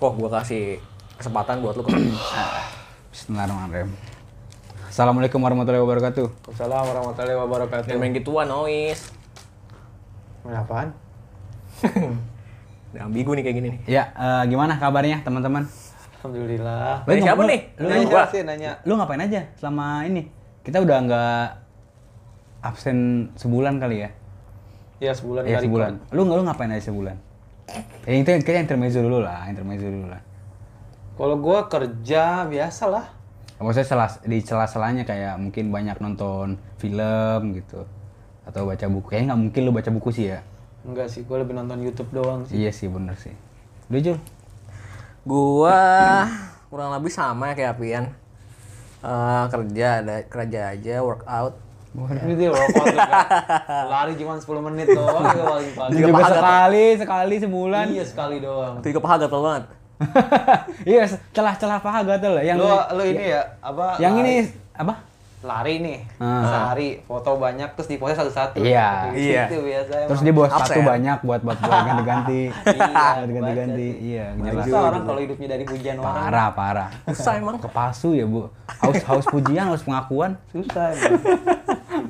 Kok gue kasih kesempatan buat lu. Bismillahirrahmanirrahim. Assalamualaikum warahmatullahi wabarakatuh. Waalaikumsalam warahmatullahi wabarakatuh. Jangan main gituan, noise. Main apaan? Udah ambigu nih kayak gini nih. Ya, eh, gimana kabarnya teman-teman? Alhamdulillah. Dari ngap- siapa nih? Lu, Dari nanya gua. sih nanya. lu ngapain aja selama ini? Kita udah nggak absen sebulan kali ya? Ya sebulan Iya nggak sebulan. record. Lu nggak lu ngapain aja sebulan? Ya itu kita intermezzo dulu lah, intermezzo dulu lah. Kalau gua kerja biasalah. Maksudnya selas, di celah-celahnya kayak mungkin banyak nonton film gitu atau baca buku. Kayaknya nggak mungkin lu baca buku sih ya? Enggak sih, gua lebih nonton YouTube doang sih. Iya sih bener sih. Lu Jul? Gua kurang lebih sama kayak Apian. Eh, kerja ada kerja aja workout Ini dia workout tuh, kan. Lari cuma 10 menit doang ya paling-paling. Tiga Juga paha gatel. sekali, sekali sebulan. Iya sekali doang. tiga paha gatel banget iya, celah-celah paha gatel lah. Yang Lu lu ini ya apa? yang lari- ini apa? lari nih. Ah. Sehari foto banyak terus di post satu-satu. Gitu Iya. Iya. Itu biasa emang. Terus dia bawa sepatu Absen. banyak buat buat buat ganti-ganti. Iya, Buat ganti-ganti. baca sih. Iya, jelas. Masa orang kalau hidupnya dari pujian orang Parah, parah. susah emang Kepasu ya, Bu. Haus haus pujian, haus pengakuan. susah emang.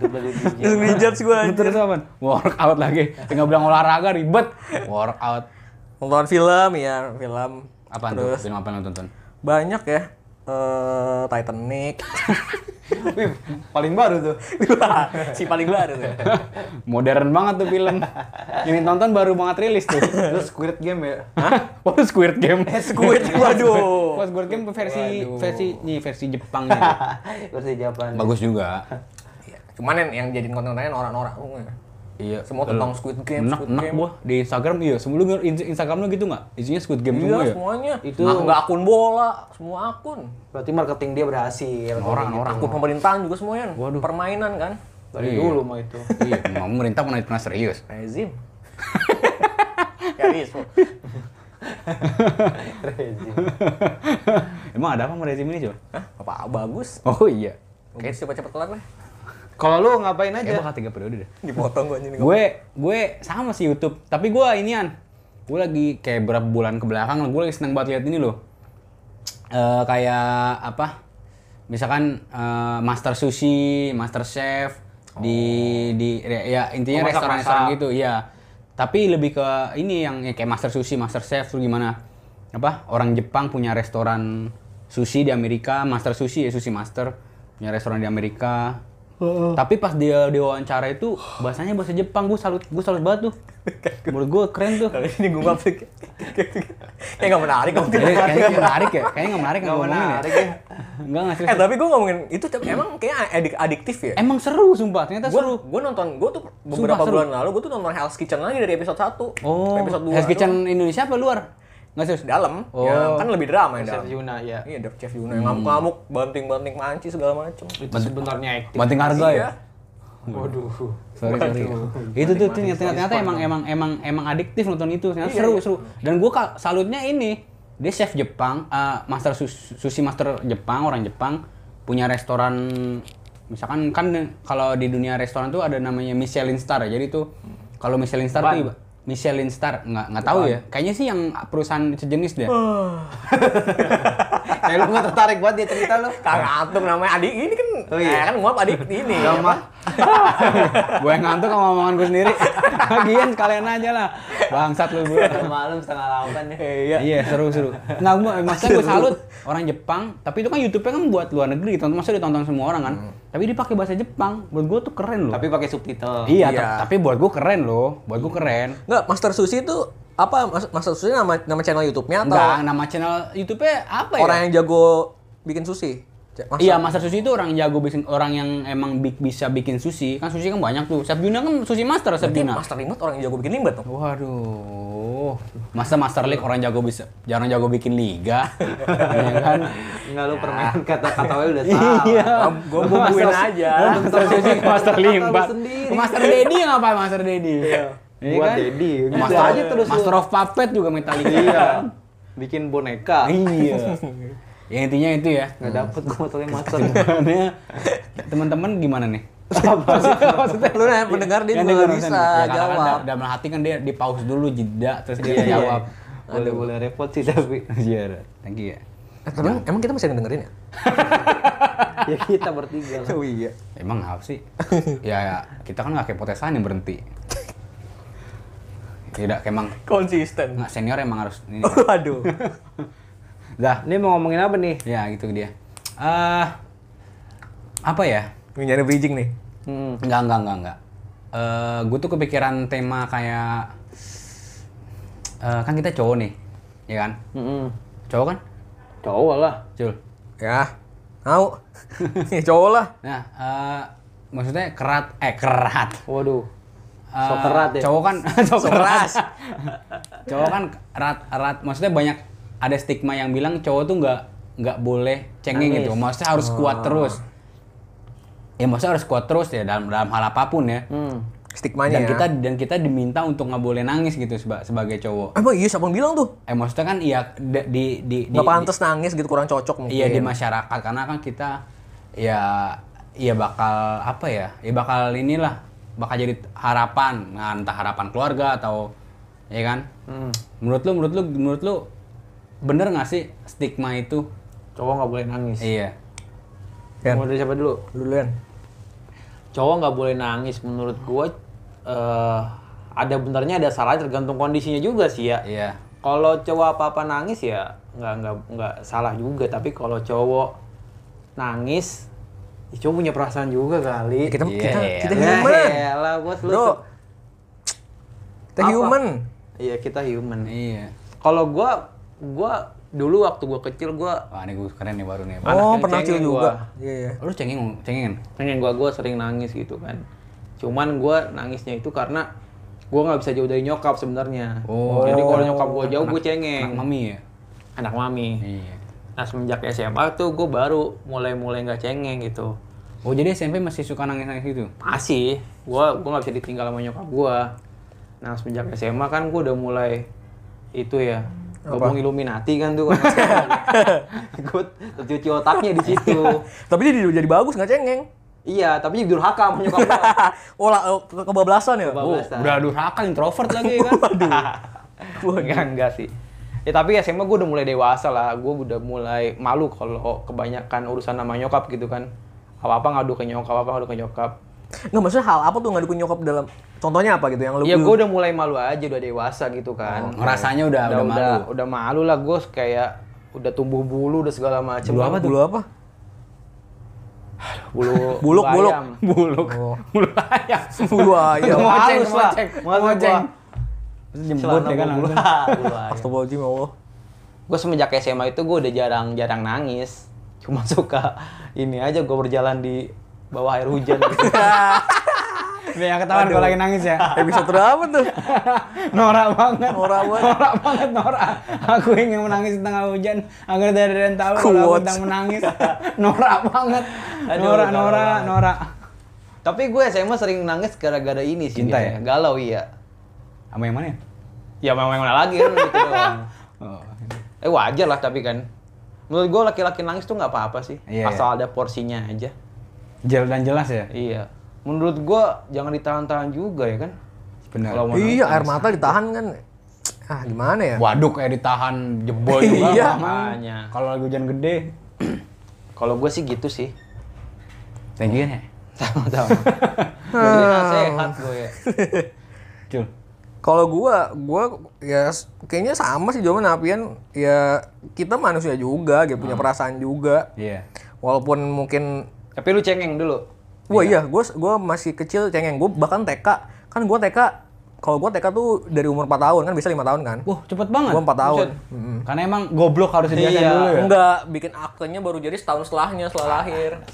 Hidup dari pujian. terus ngejudge gua Lu anjir. Terus apa? Workout lagi. Tinggal bilang olahraga ribet. Workout. nonton film ya film Apa tuh? Film apa yang lu tonton? banyak ya eh Titanic Wih, paling baru tuh. si paling baru tuh Modern banget tuh film. Yang ditonton baru banget rilis tuh. Terus Squid Game ya. Wah, Squid Game. Eh, Squid waduh Wah, Squid Game tuh versi versi nih versi Jepang gitu. Versi Jepang. Bagus juga. Iya. cuman yang, yang jadiin konten-kontennya orang-orang Iya. semua tentang Squid Game Enak, Squid enak Game gua di Instagram iya. Sebelum lu in- Instagram lu gitu nggak? Isinya Squid Game iya semua ya. semuanya Itu- Nah, nggak akun bola semua akun Berarti marketing dia berhasil. gitu. Orang-orang. akun pemerintahan juga semuanya permainan kan Dari Iya. dulu mah itu. Iya, mau pemerintah pernah pernah serius. rezim Karis, Rezim. Emang ada apa sama rezim ini coba? Hah? apa bagus? Oh iya. Oke, cepet-cepet kelar deh. Kalau lu ngapain Kayak aja? bakal tiga periode deh. Dipotong gua anjing. Gue gue sama sih YouTube, tapi gue inian. Gue lagi kayak berapa bulan ke belakang gue lagi seneng banget lihat ini loh. Eh kayak apa? Misalkan eh, Master Sushi, Master Chef di di ya intinya Oh, restoran-restoran masak-masak. gitu, iya. Tapi lebih ke ini yang yang kayak Master Sushi, Master Chef tuh gimana? Apa? Orang Jepang punya restoran sushi di Amerika, Master Sushi ya Sushi Master punya restoran di Amerika. Tapi pas dia diwawancara itu bahasanya bahasa Jepang, gue salut, gue salut banget tuh. Menurut gue keren tuh. Kali ini gua nggak kayak kayak nggak menarik kamu Kayaknya kayaknya nggak menarik ya, kayaknya nggak menarik Nggak nggak menarik menarik ya. ya. Enggak nggak serius. Eh tapi gua ngomongin itu tapi emang kayak adik adiktif ya. Emang seru sumpah, ternyata Gua, seru. gua nonton, gua tuh beberapa Sumpah, seru. bulan lalu gua tuh nonton Hell's Kitchen lagi dari episode 1 Oh, episode 2 Hell's Kitchen Indonesia apa luar? Nggak serius. dalam, Oh. Hmm. ya, kan lebih drama yang Chef dalam. Yuna ya. Iya, Dark Chef Yuna yang ngamuk-ngamuk, banting-banting panci segala macem. Itu sebenarnya aktif. Banting harga ya. Iya. Waduh. Sorry, sorry. Itu tuh ternyata, ternyata emang emang emang emang adiktif nonton itu. Ternyata seru, seru. Dan gua kal- salutnya ini, dia chef Jepang, eh, master sus- sushi master Jepang, orang Jepang punya restoran misalkan kan kalau di dunia restoran tuh ada namanya Michelin star ya. Jadi tuh kalau Michelin star tuh iba- Michelin star nggak nggak tahu ya. Kayaknya sih yang perusahaan sejenis deh. Kayak lu nggak tertarik banget dia cerita lu. Nah. Kagak antum namanya adik ini kan, Oh, iya. eh, kan nguap adik ini. ya Drama. kan? gue yang ngantuk sama omongan gue sendiri. Lagian kalian aja lah. Bangsat lu gue. Malam setengah delapan ya. Iya. Iya seru seru. Nggak gua, maksudnya gue salut orang Jepang. Tapi itu kan YouTube-nya kan buat luar negeri, tonton maksudnya ditonton semua orang kan. Hmm. Tapi dipakai bahasa Jepang, buat gue tuh keren loh. Tapi pakai subtitle. iya, Iya. ta- tapi buat gue keren loh, buat gue keren. Enggak, Master Sushi itu apa Mas- Master Sushi nama nama channel YouTube-nya atau Enggak, nama channel YouTube-nya apa ya? orang yang jago bikin sushi? C- Master- Iya, Master Sushi itu orang yang jago bikin orang yang emang bi- bisa bikin sushi. Kan sushi kan banyak tuh. Chef Yuna kan sushi master Chef Berarti Yuna. Eh, Master Limut orang yang jago bikin limbah tuh. Waduh. Masa Master League orang jago bisa jarang jago bikin liga. ya kan? Enggak lu permainan kata-kata lu Iya. udah salah. Gua bubuin aja. Master Susi ke Master Kata lu Limbat. sendiri. Master Dedi ngapa Master Dedi? Iya Buat kan? Dedi. Master Gitu aja aja terus terus lu. Master of Puppet juga Metallica. Iya. Bikin boneka. iya. Ya intinya itu ya. Nggak dapet gua motornya master. Iya, Makanya, teman-teman gimana nih? Maksudnya Lu nanya Kan pendengar dia juga Yang bisa dengar, ya, karena kan jawab. da- Dalam hati kan dia di pause dulu jeda terus dia Iya, iya. jawab. Boleh boleh repot sih tapi. Iya, thank you ya. Eh, Emang, emang kita masih dengerin ya? ya kita bertiga lah. Oh iya. Emang apa sih? ya, ya, kita kan nggak kayak potesan yang berhenti. Tidak, emang Konsisten. nggak senior emang harus ini. Waduh. Dah, Ini mau ngomongin apa nih? ya gitu dia. Eh, apa ya? Ini nyari bridging nih. Hmm. Enggak, enggak, enggak, enggak. Eh, gue tuh kepikiran tema kayak eh, kan kita cowok nih, ya kan? Mm-mm. Cowok kan, Cowok lah. Jul. Ya. Mau. Ya, cowok lah. Nah, eh, maksudnya kerat, eh kerat. Waduh. Eh, Sokerat ya. Cowok kan, cowok keras. Keras. cowok kan rat, rat. Maksudnya banyak ada stigma yang bilang cowok tuh nggak nggak boleh cengeng gitu. Nangis. Maksudnya harus kuat terus. Ya maksudnya harus kuat terus ya dalam dalam hal apapun ya. Hmm. Stigmanya dan ya. kita dan kita diminta untuk nggak boleh nangis gitu seba- sebagai cowok. Emang iya siapa yang bilang tuh? Eh maksudnya kan iya di di di, di- Nggak pantas nangis gitu, kurang cocok mungkin. iya di masyarakat karena kan kita ya ya bakal apa ya? Ya bakal inilah bakal jadi harapan, nah, entah harapan keluarga atau ya kan. Hmm, Menurut lu menurut lu menurut lu bener nggak sih stigma itu? Cowok nggak boleh nangis. Iya. Yan. Mau dari siapa dulu? Dulu Yan. Cowok nggak boleh nangis menurut gua. eh, ada benarnya ada salahnya tergantung kondisinya juga sih ya. Iya. Kalau cowok apa-apa nangis ya nggak nggak nggak salah juga. Tapi kalau cowok nangis, ya cowok punya perasaan juga kali. Kita, Iya, kita, iya. kita Ya, human. elah, buat lu Bro. tuh. Kita Apa? human. Iya kita human. Iya. Kalau gua gua dulu waktu gua kecil gua Wah, ini gue keren nih baru nih. Oh, oh, yang pernah cengeng cil juga. gua. Iya, iya. Lu cengeng, cengeng. pengen Kan gua gua sering nangis gitu kan. Cuman gua nangisnya itu karena gua nggak bisa jauh dari nyokap sebenarnya. Oh. Jadi kalau nyokap gua jauh gua cengeng. Anak mami ya. Anak mami. Iya. Nah semenjak SMA tuh gua baru mulai-mulai nggak cengeng gitu. Oh jadi SMP masih suka nangis-nangis gitu? Masih, gua gua nggak bisa ditinggal sama nyokap gua. Nah semenjak SMA kan gua udah mulai itu ya ngomong Illuminati kan tuh kan. Ikut tercuci otaknya di situ. Tapi dia jadi- jadi bagus, nggak cengeng. iya, tapi jadi durhaka sama nyokap gua. oh, la- oh, ke- kebablasan ya? Kebablasan. Oh, Alasan. udah durhaka introvert lagi ya kan? Gua enggak, enggak sih. Ya tapi SMA gue udah mulai dewasa lah, gue udah mulai malu kalau kebanyakan urusan sama nyokap gitu kan. Apa-apa ngadu ke nyokap, apa ngadu ke nyokap. Nggak, maksudnya hal apa tuh nggak dukung nyokap dalam... Contohnya apa gitu yang lu... Ya gue udah mulai malu aja, udah dewasa gitu kan. Oh, ngerasanya udah- udah udah, malu. udah malu lah gue kayak udah tumbuh bulu udah segala macem. Bulu apa tuh? Bulu apa? Bulu Buluk, bulu buluk. ayam. Buluk. Buluk ayam. Oh. Bulu ayam. Ngoceng, halus lah. ngoceng, Maksud ngoceng. gua- Terus Jemput Celana ya kan bulu, langsung. bulu ayam. Astagfirullahaladzim, ya Allah. gue semenjak SMA itu gue udah jarang-jarang nangis cuma suka ini aja gue berjalan di bawah air hujan gitu. Ya ketahuan kalau lagi nangis ya. Episode berapa tuh? Norak banget. Norak banget. Norak banget Norak. Aku ingin menangis di tengah hujan agar dari dan tahu kalau aku Quotes. sedang menangis. Norak banget. Aduh, Norak, galau norak, banget. norak. tapi gue SMA sering nangis gara-gara ini sih Cinta biasanya. galau iya Sama yang mana ya? ya memang mana lagi kan gitu doang Oh, eh wajar lah tapi kan menurut gue laki-laki nangis tuh nggak apa-apa sih Iya, asal ada porsinya aja jelas dan jelas ya. iya menurut gue jangan ditahan-tahan juga ya kan Benar. Kalau mau nangis, Iya, air mata ditahan kan. Ah, gimana ya? Waduk kayak ditahan jebol juga. Iya. Bang. Makanya. Kalau lagi hujan gede, kalau gue sih gitu sih thank you ya. tahu-tahu jadi nasehat gue ya Cul. Kalau gua, gua ya s- kayaknya sama sih cuman Apian ya kita manusia juga, gitu Hmm. punya perasaan juga. Iya. Walaupun mungkin tapi lu cengeng dulu wah iya, gua s- gua masih kecil cengeng. Gua bahkan TK, kan gua TK kalau gua TK tuh dari umur 4 tahun kan bisa 5 tahun kan? Wah, cepet banget. Gua 4 tahun. Karena emang goblok harus dibiasain Iya. dulu ya. Ah, Enggak, bikin akenya baru jadi setahun setelahnya setelah lahir.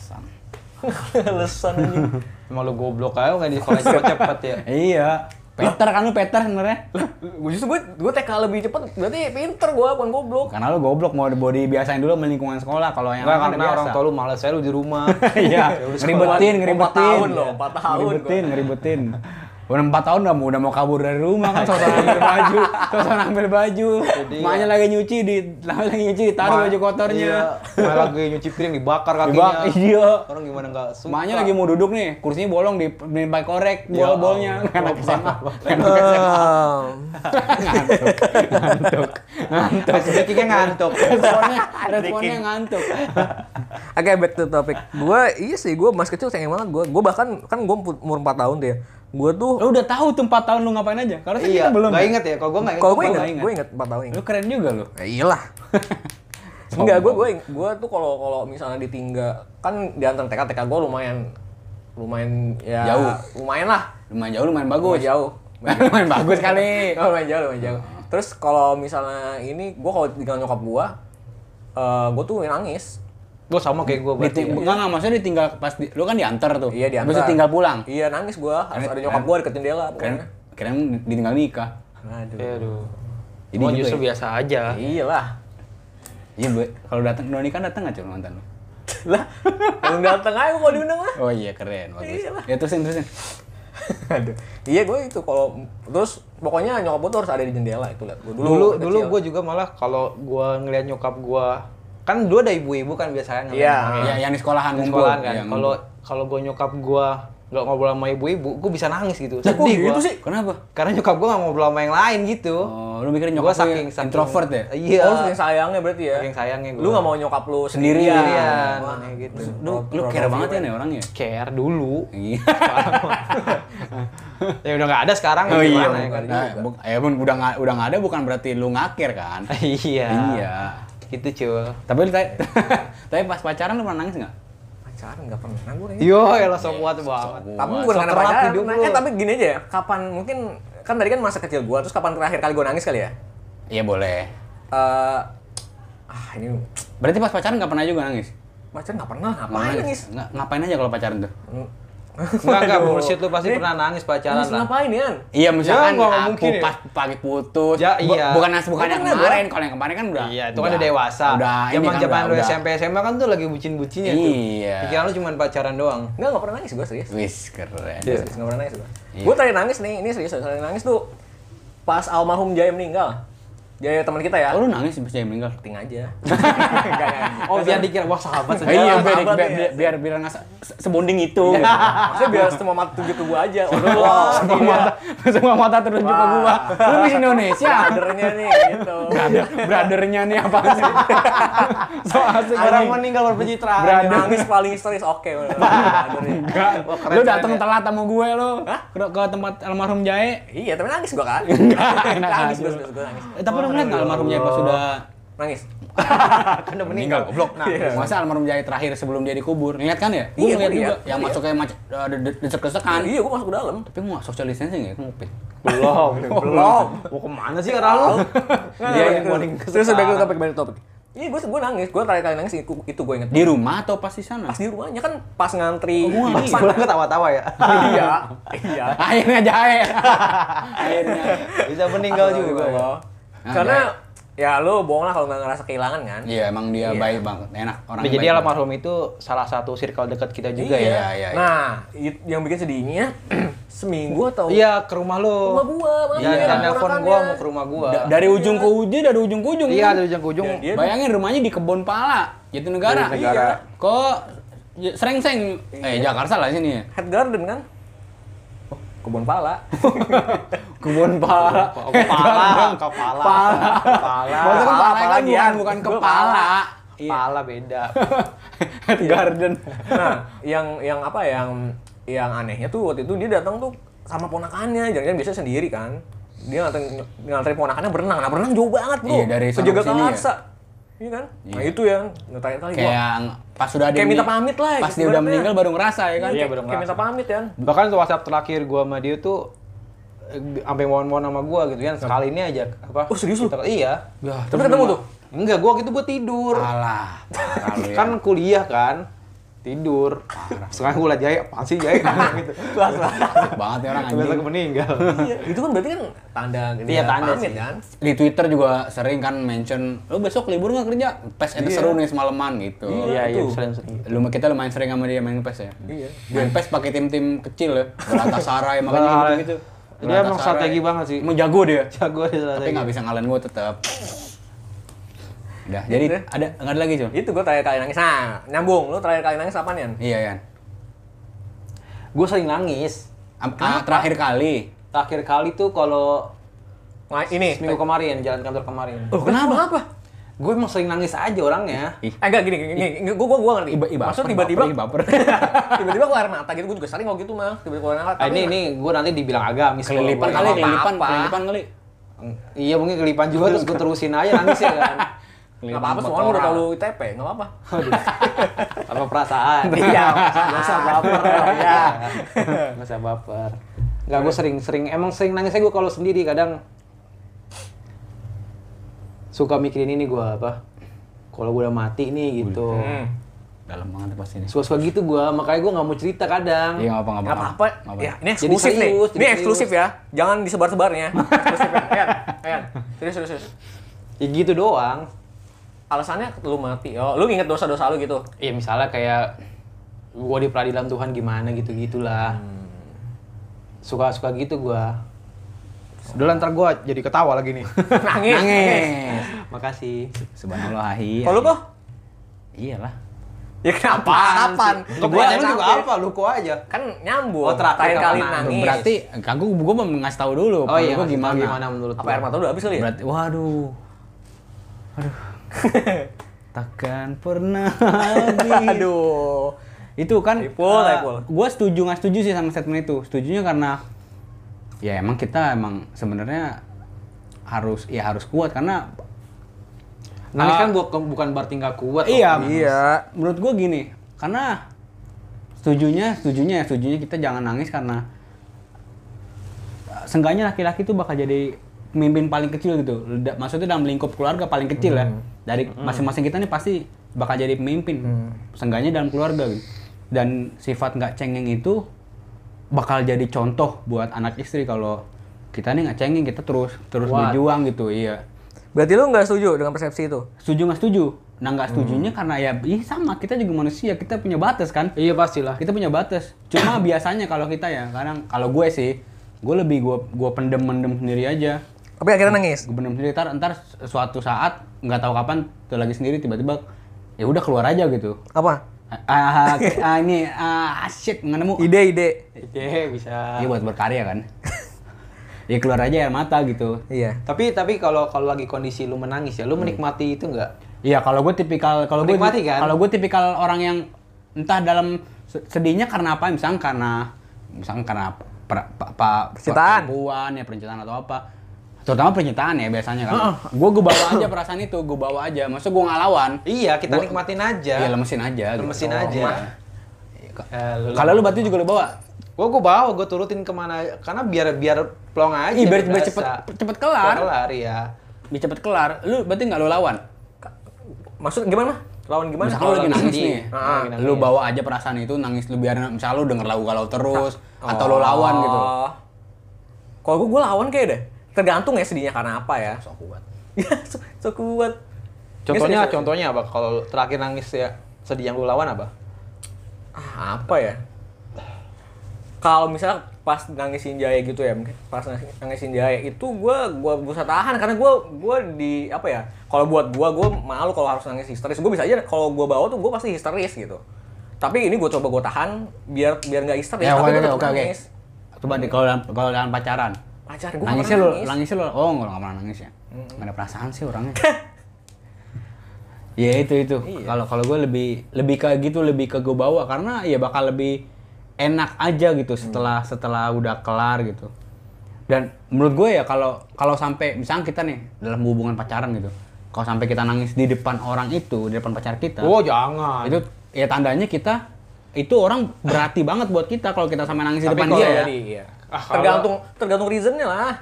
Lesan anjing. Emang lu goblok aja kan di sekolah cepet cepet ya. Iya. Peter kan lu Peter sebenarnya. Gua justru gua, gua TK lebih cepet, berarti pinter gua bukan goblok. Karena lu goblok mau body biasain dulu sama lingkungan sekolah kalau yang Enggak lain karena udah kan orang biasa. tua lu males aja lu di rumah. Iya, Ya udah sekolah. ngeribetin, ngeribetin. Empat tahun loh, empat tahun Ngeribetin, ngeribetin. Udah empat tahun udah mau udah mau kabur dari rumah kan sosokan ambil baju, sosokan ambil baju. Jadi- ya. Maknya lagi nyuci di lagi nyuci ditaruh baju kotornya. Iya. Mak lagi nyuci piring dibakar kakinya. Dibak- iya. Orang gimana nggak suka. Maknya lagi mau duduk nih, kursinya bolong di di pakai korek, bol-bolnya. Ya Anak Allah. SMA. Oh. ngantuk. Ngantuk. Sedikitnya ngantuk. Responnya, responnya ngantuk. Oke back to topic. Gua iya sih gua mas kecil sayang banget gua. Gua bahkan kan gua umur 4 tahun tuh ya. Gua tuh Lo Oh. udah tahu tuh 4 tahun lu ngapain aja? Karena kita Iya, belum. nggak ya? inget ya. Kalau gue nggak kalau gua gua ingat, ingat. gua ingat 4 tahun Lu ingat. keren juga lu. Ya iyalah. Enggak, gua gua ing- gua tuh kalau kalau misalnya ditinggal kan di antara TK TK gua lumayan lumayan ya Jauh. lumayan lah. Lumayan jauh, lumayan Gua bagus. jauh. Lumayan bagus kali. Oh, lumayan jauh, lumayan jauh. Terus kalau misalnya ini gua kalau tinggal nyokap gua eh gua tuh nangis. Gue sama kayak gue berarti. ya. Diting- Enggak, enggak, maksudnya ditinggal pas di, lu kan diantar tuh. Iya diantar. Habis itu tinggal pulang. Iya nangis gua. Harus Keren- ada nyokap gua deket jendela. Keren, pokoknya. keren ditinggal nikah. Aduh. Ya, aduh. Jadi Gua gitu justru ya? biasa aja. Iya lah. Iya, gue kalau datang Doni kan datang enggak cuy mantan lu? lah, belum dateng aja gua kalau diundang lah. Oh iya, keren. Bagus. Iya lah. Ya terusin, terusin. Aduh. Iya gue itu kalau terus pokoknya nyokap gue tuh harus ada di jendela itu lihat gue dulu. Dulu dulu gue juga malah kalau gue ngeliat nyokap gue kan dulu ada ibu-ibu kan biasanya ngeliat Iya. anaknya. Ya, yang di sekolahan Di ngumpul. sekolahan kan. Iya, Kalau kalau gue nyokap gue nggak ngobrol sama ibu-ibu, gue bisa nangis gitu. ngumpul. Lah, kok gua. gitu sih? Kenapa? Karena nyokap gue nggak ngobrol sama yang lain gitu. Oh, lu mikirin Gua nyokap saking, saking- saking- introvert ya? Iya. Oh, saking sayangnya berarti ya. Saking sayangnya gua. Lu gak mau nyokap lu Sendirian. sendirian. Sendirian, Wah, makanya gitu. Lu, lu Pro- care pro- banget ya nih orangnya. Care dulu. Iya. ya udah nggak ada sekarang Oh iya, gimana ya bukan. kan? nah, bu- ya bun, udah nggak udah nggak ada bukan berarti lu ngakir kan? Iya. Iya. Gitu cuy. Tapi lu ta- tapi pas pacaran lu pernah nangis nggak? Pacaran gak pernah gue kayaknya. Yo, elah sok kuat banget. Tapi Wah, gue gak sekerat pacaran. hidup Nanya, lu. Nah, tapi gini aja ya. Kapan mungkin kan tadi kan masa kecil gue terus kapan terakhir kali gue nangis kali ya? Iya boleh. Eh ah ini Berarti pas pacaran nggak pernah juga nangis? pacaran gak pernah ngapain nangis? Nggak- ngapain Iya, aja kalau pacaran tuh? Enggak enggak Aduh. bullshit lu pasti Nih, pernah nangis pacaran Nangis lah. ngapain ya? Iya, misalkan nggak aku mungkin ya. pas pagi putus. Ya, Bu- iya. Bukan nasi bukan Kan yang pernah gua. kemarin. Kalau yang kemarin kan udah. Iya, itu kan udah udah dewasa. Udah, ini kan Zaman-zaman udah- lu udah. SMP SMA kan tuh lagi bucin-bucinnya tuh. Iya. Pikiran lu cuma pacaran doang. Enggak, gak pernah nangis gue serius. Wis keren. Serius, serius, nggak pernah nangis gue. Iya. Gue terakhir nangis nih, ini serius, terakhir nangis tuh pas almarhum Jaya meninggal. Jaya teman kita ya. Oh, lu nangis pas dia meninggal. Ting aja. Enggak, enggak. Oh, biar dikira wah sahabat Eh, Iya, iya, biar sahabat biar ya. biar, biar, biar nggak se- se- sebonding itu. Iya. Maksudnya biar semua mata tujuh ke gue aja. Oh, wow, semua mata semua mata tertuju ke gua. Lu Miss Indonesia. kadernya nih gitu. Brother, brothernya nih apa sih? so asik Orang anjing. meninggal berpencitraan. Brother. Nangis paling historis oke. bener. Kadernya. Enggak. Wah, keren Lu keren datang ya. telat sama gue lu. Ke, ke tempat almarhum Jae. Iya, tapi nangis gue kan. enak nangis aja. gue, gue nangis. Eh, tapi lu ngeliat nggak almarhum Jae pas sudah Nangis. kan udah meninggal. meninggal goblok. Nah, Iya. masa almarhum Jae terakhir sebelum dia dikubur. Ngeliat kan Iya, ya? Gue ngeliat gua juga liat. yang Iya. masuk kayak macet desek-desekan. Iya, gue masuk ke dalam. Tapi mau social distancing ya, kan ngopi. Belum, Belum. Mau kemana sih arah lu? Iya, Dia yang itu. paling Terus udah gue topik balik topik. Iya, gue gue nangis. Gue terakhir kali nangis itu itu gue inget. Di rumah atau pas di sana? Pas di rumahnya kan pas ngantri. Oh, pas iya. pan- Pulang ketawa-tawa ya. iya, iya. Akhirnya Jae. Akhirnya. Bisa meninggal Astaga, juga. loh. Ah, Karena ya lu bohong lah kalau nggak ngerasa kehilangan kan. Iya, emang dia baik banget. Enak orang. Nah, Jadi almarhum itu salah satu circle dekat kita juga Iya, ya. iya, iya. Nah, it- yang bikin sedihnya seminggu atau Iya, ke rumah lu. Oh. rumah gua, Iya, kan makanya Jangan ponakannya. Iya, telepon gua mau ke rumah gua. Da- dari ujung ke ujung, dari ujung ke ujung. Iya, kan? dari ujung ke ujung. Ya, dia- Bayangin rumahnya di Kebon Pala, Jatinegara. Jatinegara. Iya. Kok J- Serengseng, eh Jakarta lah sini ya. Head garden kan? Oh, kebun pala. Kebun Pala. Kepala, kepala, Iya. Maksudnya kepala. kan Pala, pala pala kan bukan, dia. bukan Gua kepala. Iya. Kepala beda. Head garden. nah, yang yang apa ya, yang yang anehnya tuh waktu itu dia datang tuh sama ponakannya, jangan-jangan biasa sendiri kan. Dia nganterin nganterin ponakannya berenang. Nah, berenang jauh banget, Bro. Iya, dari Ke sana Jaga ke sini ya? Karsa. Iya kan? Nah, itu yang terakhir kali gua. Kayak pas sudah ada Kayak yang minta ni- pamit lah, Pas dia ibaratnya. udah meninggal baru ngerasa ya kan. Iya, belum kayak minta pamit ya. Bahkan WhatsApp terakhir gua sama dia tuh eh, sampai mohon-mohon sama gua gitu kan sekali ini aja apa? Oh, serius lu? Kita- Iya. Ya, Tapi ketemu tuh. Enggak, gua gitu gua tidur. Alah, parah lu ya. Kan kuliah kan. tidur sekarang gue liat jahe apa sih jahe gitu kelas lah banget ya orang ternyata anjing. gue meninggal Iya, itu kan berarti kan tanda Iya, tanda pamit sih. kan. Di Twitter juga sering kan mention, lo besok libur nggak kerja? Pes itu seru nih semalaman gitu. iya iya Itu. sering-sering Lu kita lumayan sering sama dia main pes ya. Iya. Main pes pakai tim-tim kecil ya. Galatasaray makanya Galatasaray. gitu. Dia emang strategi banget sih. Emang jago dia. jago di sana Tapi nggak bisa ngalahin gue tetap. Udah, jadi Udah. ada nggak ada lagi cuy? Itu gua terakhir kali nangis. Nah, nyambung. Lu terakhir kali nangis kapan, Yan? Iya Yan. gue sering nangis Am- ah, terakhir kali. terakhir kali tuh kalau Nah, ini. seminggu kemarin jalan kantor kemarin Oh, kenapa? gue emang sering nangis aja orangnya Eh, enggak gini, gini, gini. Gua, gua, gua ngerti. Iba, iba, Maksud baper, tiba-tiba, baper, ih, tiba-tiba keluar air mata gitu. Gua juga sering kalau gitu mah. Tiba-tiba keluar air mata. Eh, ah, Tapi- ini ini gue nanti dibilang agamis baper. kalau kelilipan gua. kali, apa-apa. kelilipan, kelilipan kali. iya mungkin kelipan juga terus gue terusin aja nangis ya kan Nggak apa-apa, semua orang udah tau lu ITP, nggak apa-apa. tanpa perasaan Iya, nggak usah baper ya nggak usah baper nggak gue sering sering emang sering nangisnya gue kalau sendiri kadang suka mikirin ini gue apa kalau gue udah mati nih gitu Hmm. Dalam banget pasti ini. suka suka gitu gue makanya gue nggak mau cerita kadang Iya, nggak apa-apa. Nggak apa-apa. Ya, ini Jadi eksklusif nih. serius, jadi Ini eksklusif ya. Jangan disebar-sebarnya. Eksklusif ya. Ayan, ayan. Serius, serius, serius. ya gitu doang Alasannya lu mati. Oh, lu inget dosa-dosa lu gitu. ya misalnya kayak gue di peradilan Tuhan gimana gitu gitulah suka suka gitu gue udah ntar gue jadi ketawa lagi nih Nangis. Nangis. makasih Subhanallah. Iya. Kalau lu kok? Iyalah. Ya kenapa? Kapan? Lu gua lu juga apa? Lu gua aja. Kan nyambung. Oh, terakhir kali kapan? nangis. Berarti aku gua mau ngasih tahu dulu. Oh iya, gua gimana? gimana? gimana menurut apa air lu? mata lu udah habis kali ya? Berarti waduh. Aduh. Takkan pernah habis. Aduh. Itu kan Typo, typo. gue setuju nggak setuju sih sama statement itu. Setujunya karena ya emang kita emang sebenarnya harus ya harus kuat karena Nangis kan bukan bukan berarti nggak kuat. Iya. Om. Iya. menurut gue gini karena setujunya setujunya setujunya kita jangan nangis karena eh, seenggaknya laki-laki tuh bakal jadi pemimpin paling kecil gitu Da- maksudnya dalam lingkup keluarga paling kecil ya dari masing-masing kita nih pasti bakal jadi pemimpin seenggaknya dalam keluarga gitu dan sifat nggak cengeng itu bakal jadi contoh buat anak istri kalau kita nih nggak cengeng kita terus terus Kuat. berjuang gitu iya Berarti lu nggak setuju dengan persepsi itu? setuju nggak setuju nah nggak setujunya karena ya ih, sama kita juga manusia kita punya batas kan Iya pastilah. kita punya batas cuma biasanya kalau kita ya kadang kalau gue sih gue lebih gue gue pendem pendem sendiri aja Tapi akhirnya nangis. gue pendem sendiri ntar ntar suatu saat nggak tahu kapan tuh lagi sendiri tiba-tiba ya udah keluar aja gitu Apa? ah ah, ah, ini ah shit nggak nemu Ide-ide. Iya bisa. ya buat berkarya kan ya keluar aja air mata gitu Iya. Tapi tapi kalau kalau lagi kondisi lu menangis ya, lu menikmati itu nggak? Iya, kalau gue tipikal kalau gue Menikmati kan? kalau gue tipikal orang yang entah dalam se- sedihnya karena apa, misalnya karena misalnya karena per- pa- pa- Percintaan. perempuan ya percintaan atau apa. Terutama percintaan ya biasanya kan. Gue gue bawa aja perasaan itu, gue bawa aja. Maksud gue ngelawan. Iya, kita Gua- nikmatin Iya, aja. lemesin aja. gitu. Lemesin Oh, aja. mah. Eh, lu- Kalau lu batu juga lu bawa. Gua gua bawa, gua turutin kemana karena biar biar plong aja. Ih, biar, biar berasa. cepet cepet kelar. Iya, Kelar ya. Biar cepet kelar. Lu berarti nggak lu lawan. Maksud gimana? Lawan gimana? Misalnya lu lagi nangis sedih. nih, Ah, lagi lu nangis. bawa aja perasaan itu nangis lu biarin misalnya lu denger lagu galau terus Ah. atau lu lawan gitu. Oh. Kalau gue, gue lawan kayak deh. Tergantung ya sedihnya karena apa ya. Sok kuat. Ya, so, so kuat. Contohnya Ini serius- contohnya apa? Kalau terakhir nangis ya sedih yang lu lawan apa? Ah, apa ya? Kalau misalnya pas nangisin jahe gitu ya, mungkin pas nangis- nangisin jahe itu gue gua bisa tahan karena gue gua di apa ya? Kalau buat gue, gue malu kalau harus nangis histeris. Gue bisa aja kalau gue bawa tuh gue pasti histeris gitu. Tapi ini gue coba gue tahan biar biar nggak histeris. Ya, tapi gua oke, oke, tetap oke, oke. nangis. Coba deh kalau dalam, kalau dalam pacaran. ya, Pacar gue Nangisnya lo, nangisnya lo, oh nggak nggak pernah nangis ya. Nggak ada perasaan sih orangnya. ya itu itu. Iya. Kalau kalau gue lebih lebih ke gitu, lebih ke gue bawa karena ya bakal lebih enak aja gitu setelah Mm. setelah udah kelar gitu. Dan menurut gue ya kalau kalau sampai misalnya kita nih dalam hubungan pacaran gitu, kalau sampai kita nangis di depan orang itu, di depan pacar kita, Oh, jangan. itu ya tandanya kita itu orang berarti banget buat kita kalau kita sampai nangis di Tapi depan kalau dia ya. Jadi, iya. Ah, kalau- tergantung tergantung reasonnya lah.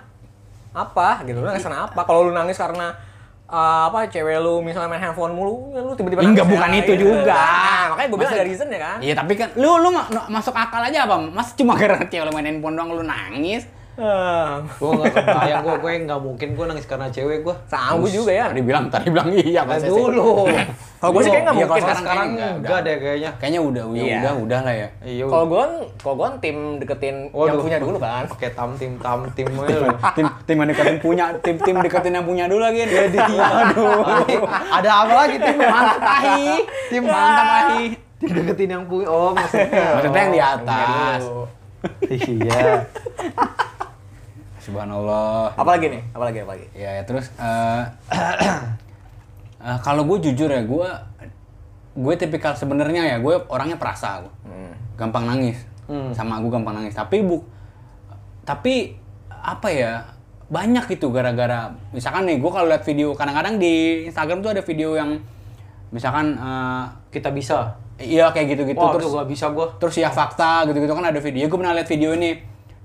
Apa gitu lu nangis karena apa? Kalau lu nangis karena eh, apa cewek lu misalnya main handphone mulu, ya lu tiba-tiba Enggak, nangis bukan ya, itu gitu. juga. Nah, makanya gue bilang Maksud- ada reason ya kan. Iya tapi kan lu lu ma- no- masuk akal aja apa? Mas cuma karena cewek lu main handphone doang lu nangis. Eh, Gue gak kebayang gue, gue nggak mungkin gue nangis karena cewek gue. sama gue juga ya. Tadi bilang tadi bilang iya Kan mas. dulu. Kalau gue sih kayaknya nggak Iya, mungkin. kalau Mas. Sekarang Kayaknya nggak, enggak nggak. deh kayaknya. Kayaknya udah udah Iya. udah udah lah ya. Iya. Kalau gue kan, kalau gue kan tim deketin yang waduh. punya dulu kan. Pakai tam tim tam tim aja lu. tim tim yang deketin punya tim tim deketin yang punya dulu lagi. Iya, Jadi aduh. Ada apa lagi tim Mantap ahi. Tim mantap ahi. Tim deketin yang punya. Oh maksudnya. Maksudnya yang di atas. Oh, Iya. Subhanallah. Apalagi nih, apalagi apalagi. Ya, ya, terus eh eh, kalau gue jujur ya gue gue tipikal sebenarnya ya gue orangnya perasa gue gampang nangis sama gue gampang nangis tapi bu tapi apa ya banyak gitu gara-gara misalkan nih gue kalau lihat video kadang-kadang di Instagram tuh ada video yang misalkan eh, Kita bisa. iya kayak gitu-gitu Wah, terus terus gak bisa gue. terus ya fakta gitu-gitu kan ada video gue pernah lihat video ini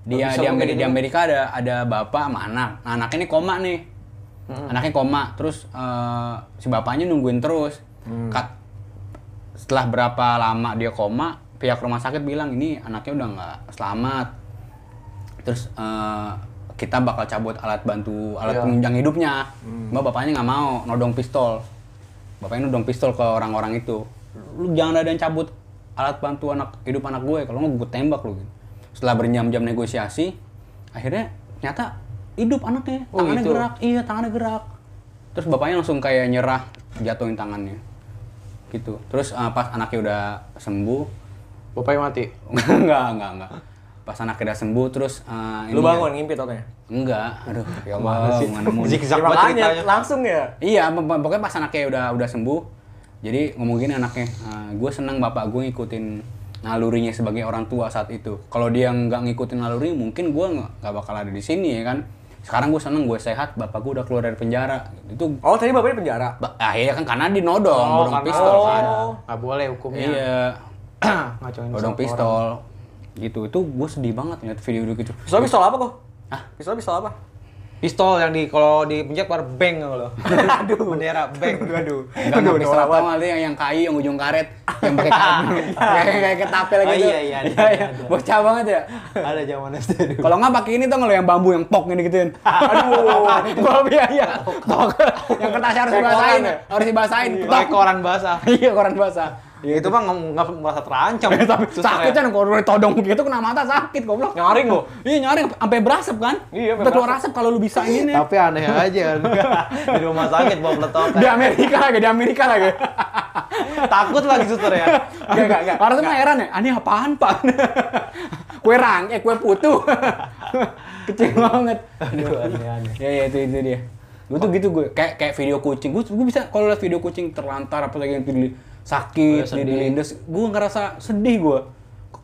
dia Bisa di gua Amerika, kayak di gitu. Amerika ada ada bapak sama anak nah, anak ini koma nih anaknya koma terus eh, si bapaknya nungguin terus Kat- setelah berapa lama dia koma pihak rumah sakit bilang ini anaknya udah nggak selamat terus eh, kita bakal cabut alat bantu alat Iya. Hmm. penunjang hidupnya mbak bapaknya nggak mau nodong pistol bapaknya nodong pistol ke orang-orang itu lu jangan ada yang cabut alat bantu anak hidup anak gue kalau nggak gue tembak lu gitu. setelah berjam-jam negosiasi akhirnya ternyata hidup anaknya Oh, tangannya gitu. gerak iya tangannya gerak terus bapaknya langsung kayak nyerah jatuhin tangannya gitu terus eh, pas anaknya udah sembuh Bapaknya mati. enggak enggak enggak pas anaknya udah sembuh terus eh, Lu ini ya. bangun ngimpi kan totalnya. Enggak, aduh, ya Allah, mana mau. Zigzag Ya, banget makanya, ceritanya. langsung ya. Iya, pok- pokoknya pas anaknya udah udah sembuh, jadi ngomong gini anaknya, gue senang bapak gue ngikutin nalurinya sebagai orang tua saat itu. Kalau dia nggak ngikutin naluri, mungkin gue nggak nggak bakal ada di sini ya kan. Sekarang gue seneng, gue sehat, bapak gue udah keluar dari penjara. Itu Oh tadi bapaknya di penjara. ba- akhirnya kan karena dinodong, nodong Oh, karena- pistol kan. oh. Nggak boleh hukumnya. Iya, Ngacauin nodong sama orang. pistol. Gitu, itu gue sedih banget ngeliat video gitu. Pistol pistol apa kok? Hah? Pistol pistol apa? Pistol yang di kalau di penjak bar beng lo. Aduh. Bendera beng. Aduh. Enggak, enggak pistol apa mah tuh yang yang kai yang ujung karet yang pakai karet Iya. kayak kayak ketapel Oh, gitu. iya, iya, ada, iya. ada. Bocah banget ya. Ada zaman SD dulu. Kalau nggak pakai ini tuh lo yang bambu yang pok gini gituin. Aduh, gua biaya. Pok. yang kertas harus Kayak koran dibasahin, ya? harus dibasahin. Pakai Pok. koran basah. Iya, koran basah. Ya, itu mah nggak- nggak merasa terancam. Tapi Susah sakit ya. kan kalau ditodong gitu kena mata sakit goblok. Nyaring lo. Iya nyaring sampai berasap kan? Iya, sampai Udah keluar berasap. asap kalau lu bisa ini. Tapi aneh aja. di rumah sakit Di bawa peletokan. Amerika lagi, di Amerika lagi. Takut lagi suster ya. Enggak, enggak, enggak. Orang tuh mah heran ya, ini apaan pak? kue rang, eh kue putu. Kecil banget. Aduh aneh-aneh. Ya, ya itu, itu dia. Gue tuh gitu gue, kayak kayak video kucing. Gue gue bisa kalau lihat video kucing terlantar apa lagi yang di- sakit, Oh, ya, sedih. dilindes, gue ngerasa sedih gue.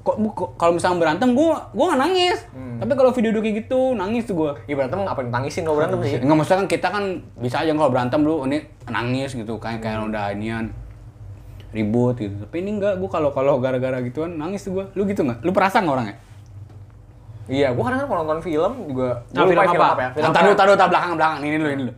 Kok kok- kalau misalnya berantem gue gue nggak nangis. Hmm. Tapi kalau video kayak gitu nangis tuh gue. Iya berantem apa yang tangisin kalau berantem sih? Enggak maksudnya kan kita kan bisa aja kalau berantem lu ini nangis gitu kayak kayak udah inian ribut gitu. Tapi ini enggak, gua kalau kalau gara-gara gituan nangis tuh gua. Lu gitu enggak? Lu perasa enggak orangnya? Iya, gua kadang-kadang kalau nonton film juga. Ah, Nah, Gua lupa film apa? ya? Film Entar dulu, apa? tar dulu, tar belakang belakang ini dulu ini dulu.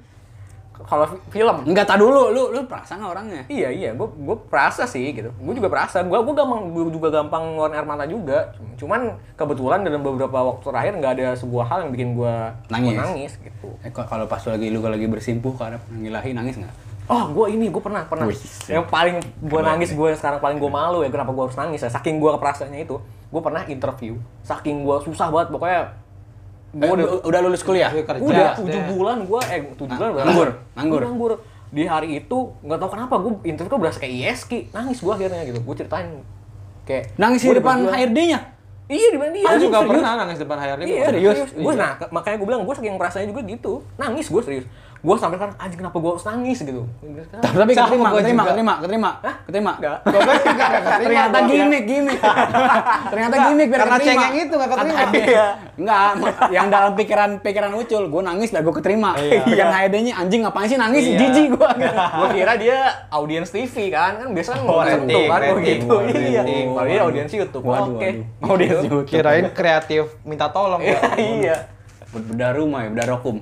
Kalau fi- film, Enggak, tar dulu. Lu lu perasa enggak orangnya? Iya iya, gue gue perasa sih gitu. Gue juga perasa. Gue gue gampang gua juga gampang ngeluarin air mata juga. Cuman kebetulan dalam beberapa waktu terakhir nggak ada sebuah hal yang bikin gue Nangis. nangis gitu. Eh, kok- kalau pas lu lagi lu lagi bersimpuh karena ngilahi nangis enggak? Oh gue ini gue pernah pernah. Wih. Yang paling gue nangis gue sekarang paling gue malu ya kenapa gue harus nangis ya. Saking gue keperasanya itu, gue pernah interview. Saking gue susah banget pokoknya. Eh, Gue udah lu- udah lulus kuliah? Gua kerja. udah SD. tujuh bulan gue eh tujuh bulan berapa? Nganggur, nganggur. Gua nganggur di hari itu nggak tahu kenapa gue interview gue berasa kayak ISK nangis gue akhirnya gitu gue ceritain kayak Nangis di gua depan berjuang. HRD-nya. iya di depan dia Gue juga Serius. pernah nangis depan HRD. iya serius? serius, gue nah ke- makanya gue bilang gue saking merasanya juga gitu nangis gue serius gue sampai kan anjing kenapa gue harus nangis gitu Tapi tapi Sama keterima, gua keterima, juga. keterima, keterima. Hah? Keterima. Enggak. ternyata gimmick, gimmick. ternyata gimmick biar Karena keterima. cengeng itu nggak keterima. Kata- Iya. Enggak, ma- yang dalam pikiran-pikiran ucul, gue nangis lah gue keterima. Iya. Yang HD-nya anjing ngapain sih nangis, Iya. jijik gue. gue kira dia audiens TV kan kan biasanya kan ngomong rating, YouTube kan gue Oh, rating, gitu waduh, iya rating. kalau dia audiens YouTube Waduh, Iya, oke gitu. waduh. Audiens YouTube. Kirain kreatif minta tolong. ya. iya Bedah rumah ya, bedah rokum.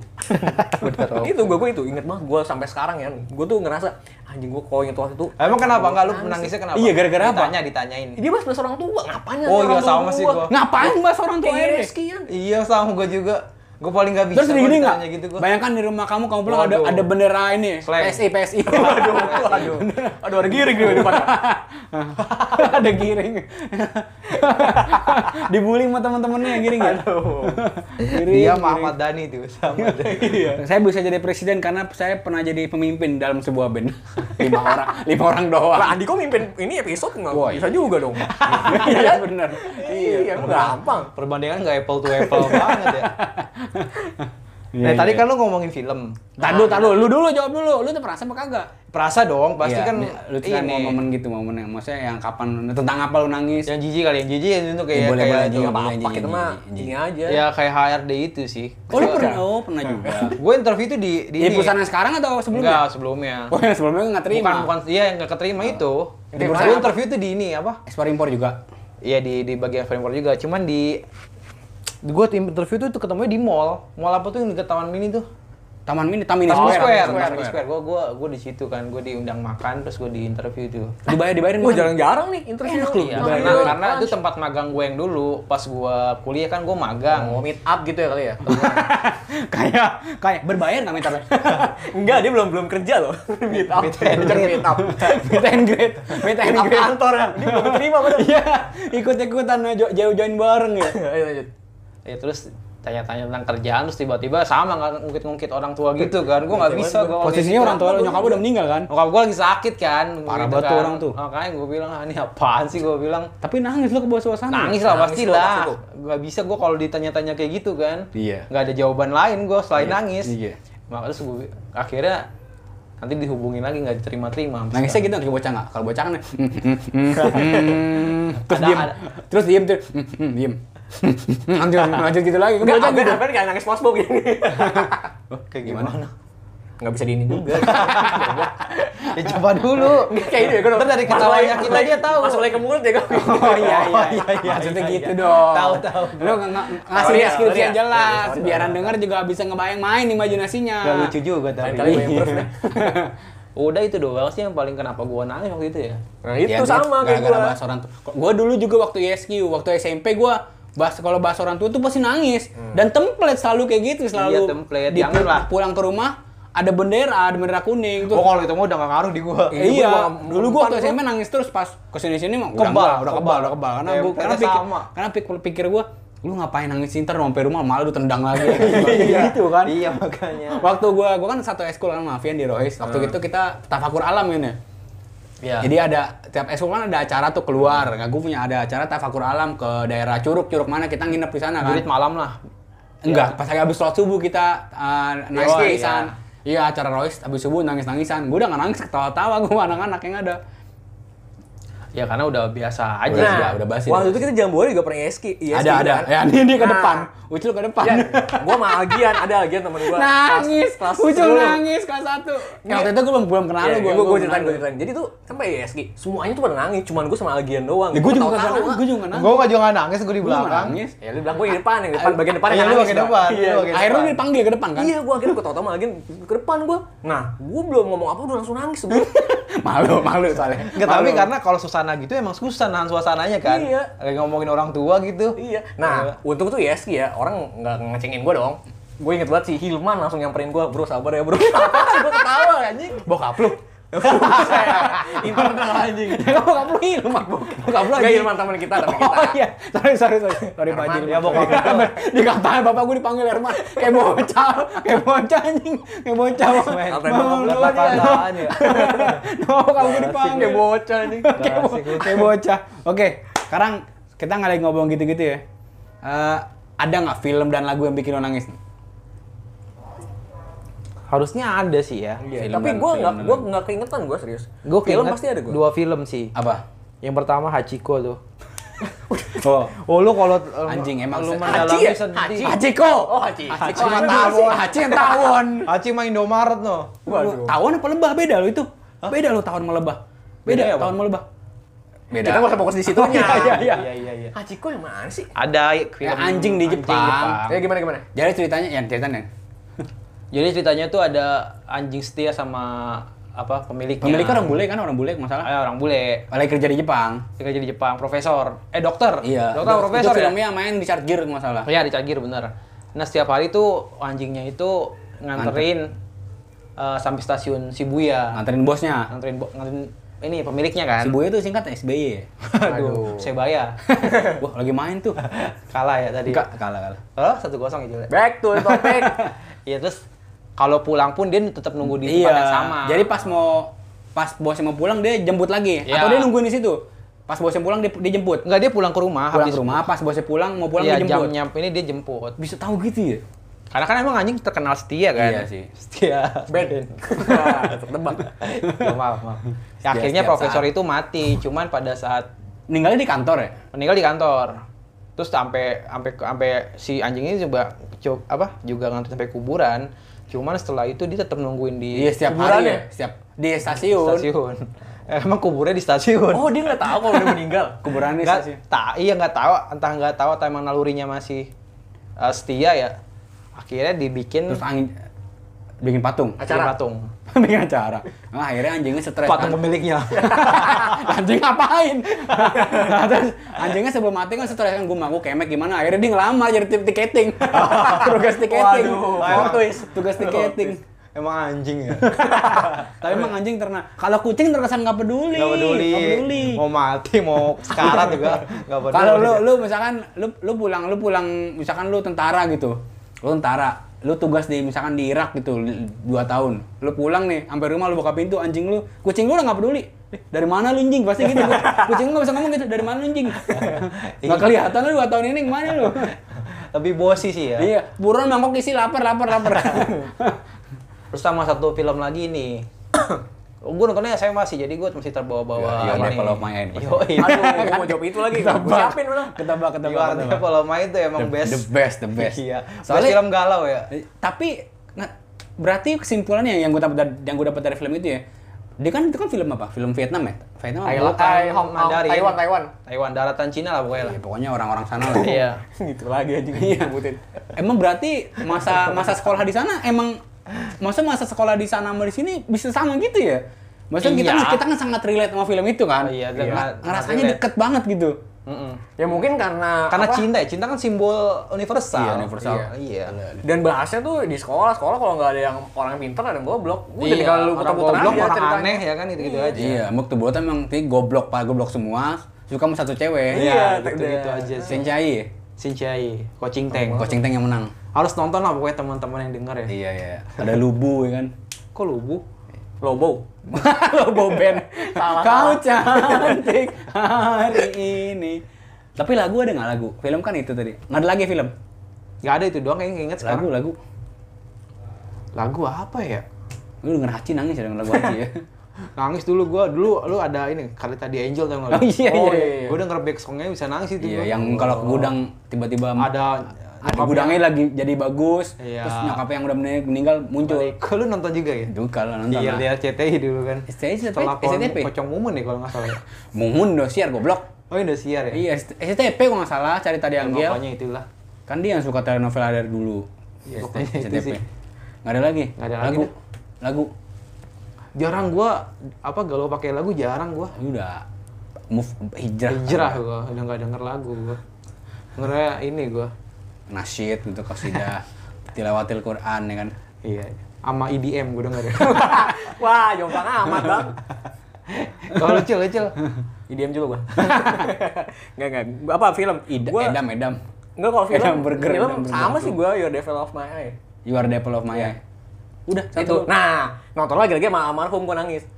itu gue gue itu inget banget gue sampai sekarang ya gue tuh ngerasa anjing gue kalau inget waktu itu Emang kenapa enggak lu menangisnya kenapa? Iya, gara-gara apa? Ditanya, ditanyain. dia bahas bahas orang tua ngapain Oh, iya, orang tua sama sih gua? gua. Ngapain bahas orang tua Iya, ini? sekian Iya, sama gua juga. Gua paling enggak bisa. Terus di kalau gini nggak? ditanya Gitu gua. Bayangkan di rumah kamu, kamu pulang ada Waduh. ada bendera ini. ya. Slang. PSI, PSI. aduh aduh aduh ada giring di depan ada giring. Dibully sama teman-temannya giring ya. Giring, Dia giring. sama Ahmad Dhani tuh, sama. Iya. Saya bisa jadi presiden karena saya pernah jadi pemimpin dalam sebuah band. lima orang, lima orang doang. lah Andiko mimpin ini episode nggak Wah, bisa juga dong Iya benar. iya gampang Perbandingan nggak apple to apple banget ya. Iya, Nah, tadi kan lu ngomongin film. Tadu, tadu, lu dulu jawab dulu. Lu tuh perasaan apa kagak? Perasa dong, pasti Iya, kan nih, lu tuh kan mau ini. momen gitu, momen yang maksudnya yang kapan tentang apa lu nangis? Yang jijik kali, yang jijik Iya, itu kayak boleh, kayak boleh, itu. jijik. apa apa kita mah ini aja Ya kayak HRD itu sih. Oh, lu pernah? Oh, pernah juga. Gue interview itu di di Di ini. ya? perusahaan yang sekarang atau Enggak, sebelumnya? sebelumnya. Oh, yang sebelumnya nggak terima. Bukan bukan iya yang nggak keterima itu. Di Gue perusahaan interview itu di ini apa? Ekspor impor juga. Iya di di bagian framework juga, cuman di gue tim interview tuh, tuh ketemunya di mall. Mall apa tuh yang dekat Taman Mini tuh? Taman Mini, Taman Mini Taman Square. Square, Taman Taman Square. Gue gue gue di situ kan, gue diundang makan, terus gue di interview tuh. Dibayar dibayarin gue makan. jarang-jarang nih interview Enak lu, Iya, Iya, Dibayar. karena, iya. karena itu tempat magang gue yang dulu. Pas gue kuliah kan gue magang. mau Oh. meet up gitu ya kali ya kayak kayak berbayar nggak meter? enggak dia belum belum kerja loh meet up Meet manager meet up Meet and greet, meet and meet up greet. kantor eh, ya dia belum terima padahal Iya, ikut-ikutan jo- jauh join bareng ya. Ayo lanjut. Ya terus tanya-tanya tentang kerjaan terus tiba-tiba sama nggak ngungkit-ngungkit orang tua gitu kan. Gue nggak bisa. Iya, Gua gitu Posisinya orang tua lu, nyokap lu udah meninggal kan? Nyokap gue lagi sakit kan. Parah gitu banget tuh kan. orang tuh. Makanya gue bilang, ah, ini apaan sih gue bilang. Tapi nangis lu ke bawah suasana. Nangis lah Nangis pasti lah, lah. pasti tuh. Gak bisa gue kalau ditanya-tanya kayak gitu kan. Iya. Gak ada jawaban lain gue selain Iya, nangis. iya. Makanya terus gua- akhirnya nanti dihubungin lagi nggak diterima-terima. Nangisnya gitu kayak bocah nggak? Kalau bocah kan hmm, hmm, hmm, hmm. terus Ada- diem, ada. terus diem, terus hmm, hmm, diem. lanjut, lanjut gitu lagi. Kan Enggak, bocah Abel, gitu. Abel kayak nangis masbuk gini. Oh, kayak gimana? Enggak bisa diinin juga. ya coba dulu. kayak itu ya, gue Ntar dari ketawanya kita dia tahu. Masuk lagi ke mulut ya, gue. Oh iya iya, iya. iya, maksudnya iya, gitu iya. dong. Tahu, tahu. Lu nggak- nggak- ngasih Oh, iya, Sorry ya, deskripsi sorry yang ya. jelas, Sorry, sorry. biar orang denger juga bisa ngebayang main imajinasinya. Gak Iya, lucu juga Lain tapi. kali gue improve deh. ya. Udah itu doang sih yang paling kenapa gua nangis waktu itu ya. Nah, itu sama kayak gue. gue. bahas orang tua. Gue dulu juga waktu ISQ, waktu SMP gue bahas kalau bahas orang tua tuh pasti nangis dan template selalu kayak gitu selalu Hmm. Iya, template. di- Janganlah. pulang ke rumah ada bendera ada bendera kuning Oh tuh kalau itu mah udah gak ngaruh di gua. Iya, iya, gua juga dulu gua waktu mempan, SMP nangis terus pas kesini sini mah Kebal, udah enggak, udah kebal. kebal, udah kebal karena Templatenya gua karena pikir, sama. karena pikir, pikir gua lu ngapain nangis sih? ntar sampai rumah malah lu tendang lagi gitu kan Iya makanya. waktu gua gua kan satu eskul kan mafian di Rois waktu itu kita tafakur alam kan ya Hmm. Iya. jadi ada tiap eskul kan ada acara tuh keluar nah gua punya ada acara tafakur alam ke daerah Curug Curug mana kita nginep di sana kan Duit malam lah. Enggak, pas lagi habis sholat subuh kita uh, nangis Oh, nangisan. iya. Iya, acara Royce habis subuh nangis-nangisan. Gue udah gak nangis, ketawa-tawa gue anak-anak yang ada. Ya karena udah biasa aja. Udah, sih. Iya, udah, udah basi. Nah, Waktu itu kita jambore juga pernah ISK. ISK ada, ada. Ya, ini dia ke Iya Nah. depan. Ucul ke depan. Iya, gue sama Algian, ada Algian temen gue. nangis, kelas Ucul 10. nangis kelas satu. Waktu itu gue belum, belum kenal Iya, lu, gue gue ceritain, gue ceritain. Jadi tuh sampai ISK, semuanya tuh pada nangis, cuman gue sama Algian doang. Gue Ya, Tahu-tahu, juga kagak nangis, gue juga nggak nangis. Gua nggak juga nangis, gua di Gua nggak belakang. nangis. Ya lu bilang gue di depan, yang depan bagian depan Iya, yang lu nangis. bagian dong. depan, Iya, lu bagian Akhirnya dia dipanggil ke depan kan? Iya, gue akhirnya gue tau sama Algian ke depan gue. Nah, gue belum ngomong apa udah langsung nangis gue. malu, malu soalnya. Enggak, tapi karena kalau suasana gitu emang susah nahan suasananya kan. Iya. Lagi ngomongin orang tua gitu. Iya. Nah, untung tuh ISK ya, orang nggak ngecengin gue dong. Gue inget banget si Hilman langsung nyamperin gue, bro sabar ya bro. gue ketawa anjing. Bokap lu. Internal anjing. Bokap lu Hilman. Bokap lu Gak anjing. Hilman teman kita, teman kita. Oh iya, sorry sorry sorry, sorry Pak Herman, Haji. ya, bokap Iya. Dikatain bapak gue dipanggil Herman, kayak bocah, kayak bocah anjing, kayak bocah. Ngatain Mau bapak lu gua aja. Kata-kataan ya. Mau bokap gue dipanggil Kayak bocah anjing. Kayak bo- kayak bocah. Oke, sekarang kita nggak lagi ngomong gitu-gitu ya. Eh, ada nggak film dan lagu yang bikin lo nangis? Harusnya ada sih ya. Iya, Film tapi dan- gue film nggak dan gue nggak keingetan gue serius. Gue film pasti ada gue. Dua film sih. Apa? Yang pertama Hachiko tuh. Oh, Oh lu kalau Anjing, emang lu se- mendalami Hachi ya? sedih. Hachi. Haji kok. Oh, Haji. Haji Oh, mah Haji. tawon, Haji yang tawon. Hachi main Indomaret no. Waduh. Tawon apa lebah beda lo itu? Beda lo tawon sama lebah. Beda, Bedanya apa? tawon sama lebah. Beda. Kita nggak usah fokus di situ Iya, iya, iya. Iya iya iya. Hachiko yang mana sih? Ada film Ya, anjing di Jepang. Ya gimana gimana? Jadi ceritanya yang ceritanya Jadi ceritanya tuh ada anjing setia sama apa pemiliknya. pemiliknya orang bule kan orang bule Iya. masalah. Eh, orang bule. Lagi kerja di Jepang. Dia kerja di Jepang, profesor. Eh dokter. Iya. Dokter Itu- profesor itu ya. filmnya main di Charger nggak masalah. Iya di Cagir bener. Nah setiap hari tuh anjingnya itu nganterin eh, sampai stasiun Shibuya. Nganterin bosnya. Nganterin, bo- nganterin ini pemiliknya Si kan. Boy itu singkat SBY. Aduh, Sebaya. Wah, lagi main tuh. Kalah ya tadi. Enggak, kalah kalah. Oh, satu kosong ya Jule. Back to the topic. Iya terus kalau pulang pun dia tetap nunggu di tempat yang sama. Iya. Jadi pas mau pas bosnya mau pulang dia jemput lagi Iya. atau dia nungguin di situ. Pas bosnya pulang dia dijemput. enggak dia pulang ke rumah Pulang ke rumah, pas bosnya pulang mau pulang Iya, jam dijemput. nyampe ini dia jemput. Bisa tahu gitu ya? Karena kan emang anjing terkenal setia kan. Iya sih. Setia. Ben. Wah, Tebak. ya, maaf, maaf. Ya, Setiap- akhirnya setiap profesor saat. itu mati, cuman pada saat Meninggalnya di kantor ya? meninggal di kantor. Terus sampai sampai sampai si anjing ini juga co- apa juga ngantri sampai kuburan. Cuman setelah itu dia tetap nungguin di Iya, setiap Kuburan hari ya? ya? Setiap di stasiun. stasiun. Eh, Emang kuburnya di stasiun. Oh, dia nggak tahu kalau dia meninggal. Kuburannya di stasiun. Nggak, ta- iya nggak tahu, entah nggak tahu atau emang nalurinya masih eh, setia ya. Akhirnya dibikin Terus angin bikin patung. Acara. bikin patung. bikin acara. Nah, akhirnya anjingnya stres. Patung kan. pemiliknya. anjing ngapain? nah, terus anjingnya sebelum mati kan stres kan gue mau gue kemek gimana? Akhirnya dia ngelamar jadi tim tiketing. tugas tiketing. Waduh. Plot twist. tugas tiketing. emang anjing ya. Tapi emang anjing terna. Kalau kucing terkesan nggak peduli. Nggak peduli. nggak peduli. Mau mati, mau sekarat juga nggak peduli. Kalau lu lu misalkan lu lu pulang lu pulang misalkan lu tentara gitu. Lu tentara, lu tugas di misalkan di Irak gitu li- dua tahun. Lu pulang nih, sampai rumah lu buka pintu anjing lu, kucing lu udah nggak peduli. Eh, Dari mana lu anjing? Pasti gitu. Kucing lu nggak bisa ngomong gitu. Dari mana lu anjing? Nggak kelihatan lu dua tahun ini kemana lu? lebih bosi sih ya. Iya, buruan mangkok isi lapar lapar lapar. Terus sama satu film lagi nih. gue nontonnya SMA sih, jadi gue masih terbawa-bawa Iya, Ya, Your ini. Level of My End. Yoi. Aduh, gua mau jawab itu lagi. Gua siapin mana? ketebak ketebak. Your ketebak. Level of My End tuh emang The- best. The best, the best. Iya. Soalnya Soalnya- film galau ya. Eh, tapi nge- berarti kesimpulannya yang gue dapat dari yang gue dapat dari film itu ya dia kan itu kan film apa film Vietnam ya Vietnam apa? Thailand. Bukan Tai- Hong- Mandarin. Taiwan, Taiwan. Taiwan daratan Cina lah pokoknya lah. Ya, pokoknya orang-orang sana lah Iya. gitu lagi anjing nyebutin. emang berarti masa masa sekolah di sana emang masa masa sekolah di sana sama di sini bisa sama gitu ya maksudnya kita Iya. kita kan sangat relate sama film itu kan Oh, iya, Nah, sangat- ngerasanya sangat deket banget gitu Mm-mm. Ya mungkin karena Karena apa? cinta ya, cinta kan simbol universal. Iya, universal. Iya. dan bahasnya tuh di sekolah sekolah kalau nggak ada yang orang pinter ada yang goblok udah Iya, tinggal lu orang putar-putar goblok, aja orang ceritanya. aneh ya kan gitu-gitu aja. iya Muk tuh emang dia goblok pak goblok semua suka sama satu cewek gitu. Iya, gitu-gitu udah. gitu, aja sih. Senjai ya? Sinjai, coaching tank. Coaching Tank yang menang Harus nonton lah pokoknya teman-teman yang denger ya. iya iya ada lubu ya kan Kok lubu? lobo Lobo band. Salah, Kau cantik hari ini. Tapi lagu ada nggak lagu? Film kan itu tadi. Nggak ada lagi film. Gak ada itu doang kayaknya inget Lagu sekarang. lagu. Lagu apa ya? Lu denger Haci nangis ya denger lagu Haci ya. Nangis dulu gua dulu lu ada ini kali tadi Angel tau nggak? Oh, lu? iya, Oh, iya, iya. Gua denger back songnya bisa nangis itu. Iya, gua. yang kalau ke gudang tiba-tiba ada ada gudangnya lagi jadi bagus. Iya. Terus nyokapnya yang udah mening- meninggal muncul. Kok lu nonton juga ya? Itu kalau nonton. Iya, lah. lihat CTI dulu kan. STP? Setelah STP? kon- pocong mumun nih kalau nggak salah. ya. Mumun dosiar goblok. Oh, Indosiar ya? Iya, STP kok nggak salah cari tadi Ya, Angel. Pokoknya itulah. Kan dia yang suka telenovela dari dulu. Iya, ST- pokoknya itu STP. sih. Nggak ada lagi. Nggak ada lagi lagu. dah. Lagu. Jarang gua apa galau pakai lagu jarang gua. Udah move hijrah. Hijrah gua, udah nggak denger lagu gua. Dengernya ini gua. nasyid gitu qasidah tilawatil Quran ya kan Iya. Sama EDM gua denger. ya. wah jomplang amat bang Kalau lucu lucu. E IDM juga gua nggak nggak Gua- apa film Ida, gua Edam Edam nggak kalau film Edam Burger, film Edam Burger. sama sih gua your devil of my eye you are the apple of my eye udah itu satu nah nonton lagi lagi sama almarhum gua nangis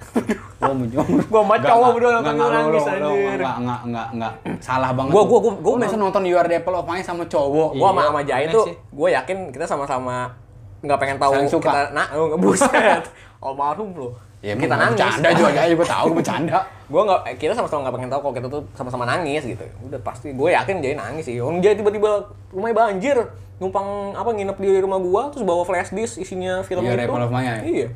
gua menjong Gua sama cowok berdua nonton nggak, lu nangis, nggak, anjir. nggak, nggak nggak nggak nggak salah banget Gua- lu. gua- gua- gua Lu biasa nonton you are the apple of my eye sama cowok gua sama sama Jai aneh itu sih. gua yakin kita sama-sama nggak pengen tahu Saling suka. kita nah lu nggak buset almarhum lu ya kita nangis bercanda juga aja gua tahu gua bercanda gue nggak eh, kita sama-sama nggak pengen tahu kalau kita tuh sama-sama nangis gitu udah pasti gue yakin jadi nangis sih orang dia tiba-tiba rumahnya banjir numpang apa nginep di rumah gua terus bawa flash disk isinya film Iya, itu Repo Love Maya ya? iya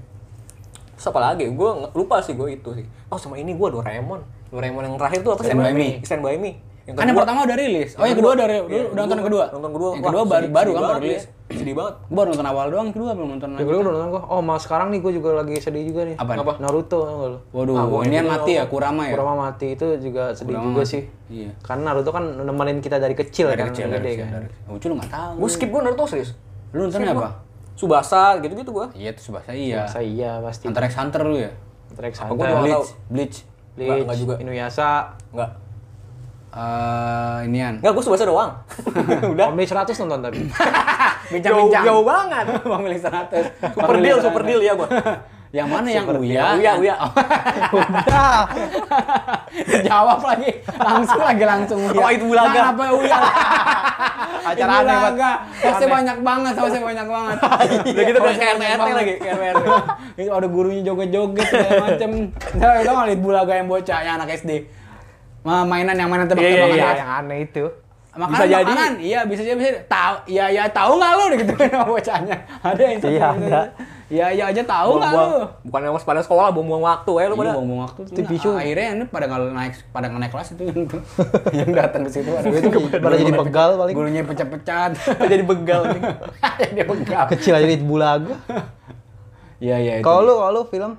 terus apa lagi gue lupa sih gue itu sih oh sama ini gua Doraemon Doraemon yang terakhir tuh apa sih? Stand by Me. Stand by Me. Yang Kan yang kedua- pertama udah rilis. Oh, yang kedua- kedua udah rilis. iya, Udah nonton yang kedua. Nonton kedua. Iya, Yang Wah, kedua baru sedih- baru sedih kan baru banget rilis. ya. Sedih banget. Gua baru nonton awal doang, yang kedua belum nonton Ya, lagi. gue udah nonton gue. Oh, malah sekarang nih gue juga lagi sedih juga nih. Apaan? Naruto tau nggak lu? Nah, Waduh, ini yang mati ya, Kurama ya? Kurama mati itu juga sedih juga sih. Iya. Karena Naruto kan nemenin kita dari kecil Dari kan, kecil, gede dari kan. kecil. dari kecil. Ucu lu Oh, nggak tahu. Gue skip gue Naruto serius. Lu nontonnya apa? Subasa gitu-gitu gue. Iya, itu Subasa iya. Saya iya pasti. Hunter x Hunter lu ya? Hunter x Aku doang. Hunter, Bleach, tahu. Bleach. Nggak, nggak Bleach, juga. Inuyasha, Enggak. Eh, inian. Enggak, gue Subasa doang. Udah. Omni 100 nonton tapi. Jauh, jauh banget. Pamili 100. Super deal, super deal ya gue. Yang mana yang Super deal. Uya? Uya, Uya. Udah. Jawab lagi. Langsung lagi langsung Uya. Oh, itu Bulaga. Nah, apa Uya? Acara Itu aneh, Pat. Bulaga. Hostnya Aneh. banyak banget, hostnya banyak banget. Udah gitu kayak Hostnya banyak KRT banget. lagi, KRT. Itu ada gurunya joget-joget segala macem. Udah, udah nggak lihat Bulaga yang bocah, yang anak SD. Ma- mainan yang mainan Iya, tebak-tebakan iya. ya. yang aneh itu. Makanan, Bisa jadi. makanan. Iya, bisa jadi bisa. jadi. Tahu, iya iya tahu nggak lu digituin sama bocahnya. Ada yang satu Iya, gitu. ada. Iya iya aja tahu nggak Buang-buang. lu. Bukan emang pada sekolah, buang-buang waktu ya lu Iya, pada. buang-buang waktu tuh. TV Nah, show. Akhirnya ini pada nggak naik pada nggak naik kelas itu yang, yang datang ke situ ada Itu pada jadi begal paling. gurunya pecah-pecat. Jadi begal. nih. Jadi begal. Kecil aja di bulaga. Iya iya itu. Kalau lu, kalau lu film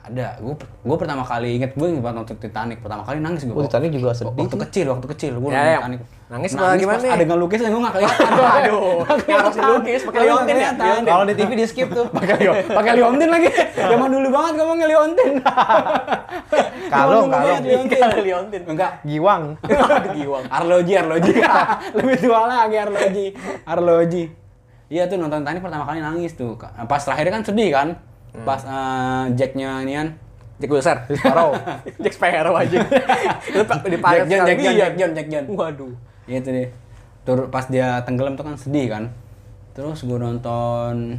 ada gue gue pertama kali inget gue inget banget nonton Titanic pertama kali nangis gue Oh, Titanic juga sedih waktu sih. kecil waktu kecil gue Ya, ya. nonton Titanic Nangis apa gimana nih? ada nggak lukis gue nggak kelihatan Aduh, harus dilukis, pakai liontin ya? Liontin. kalau di TV di skip tuh pakai lio pakai liontin lagi zaman dulu banget ngomongnya liontin Zaman Kalung, dulu banget kalung. liontin. Kalau Iya, liontin. enggak Giwang. Aduh, giwang. Arloji, Arloji. Lebih tua lagi Arloji. Arloji. Iya tuh nonton Titanic pertama kali nangis tuh. Pas terakhir kan sedih kan? Pas eh, Jacknya ini kan. Jack Wilson. Sparrow. Jack Sparrow aja. Lu pa- di Jack paret John, sekali. Jack John, Iya. Jack John, Jack John. Waduh. Iya tuh deh. Tur pas dia tenggelam tuh kan sedih kan. Terus gue nonton